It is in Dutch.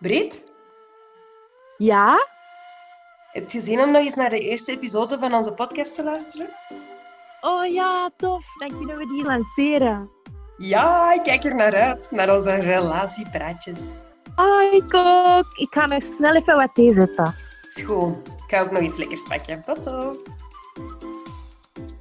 Breed, Ja? heb je zin om nog eens naar de eerste episode van onze podcast te luisteren? Oh ja, tof. Dan kunnen we die lanceren. Ja, ik kijk er naar uit, naar onze relatiepraatjes. Ah, ik ook. Ik ga nog snel even wat thee zetten. Schoon, ik ga ook nog iets lekkers pakken. Tot zo!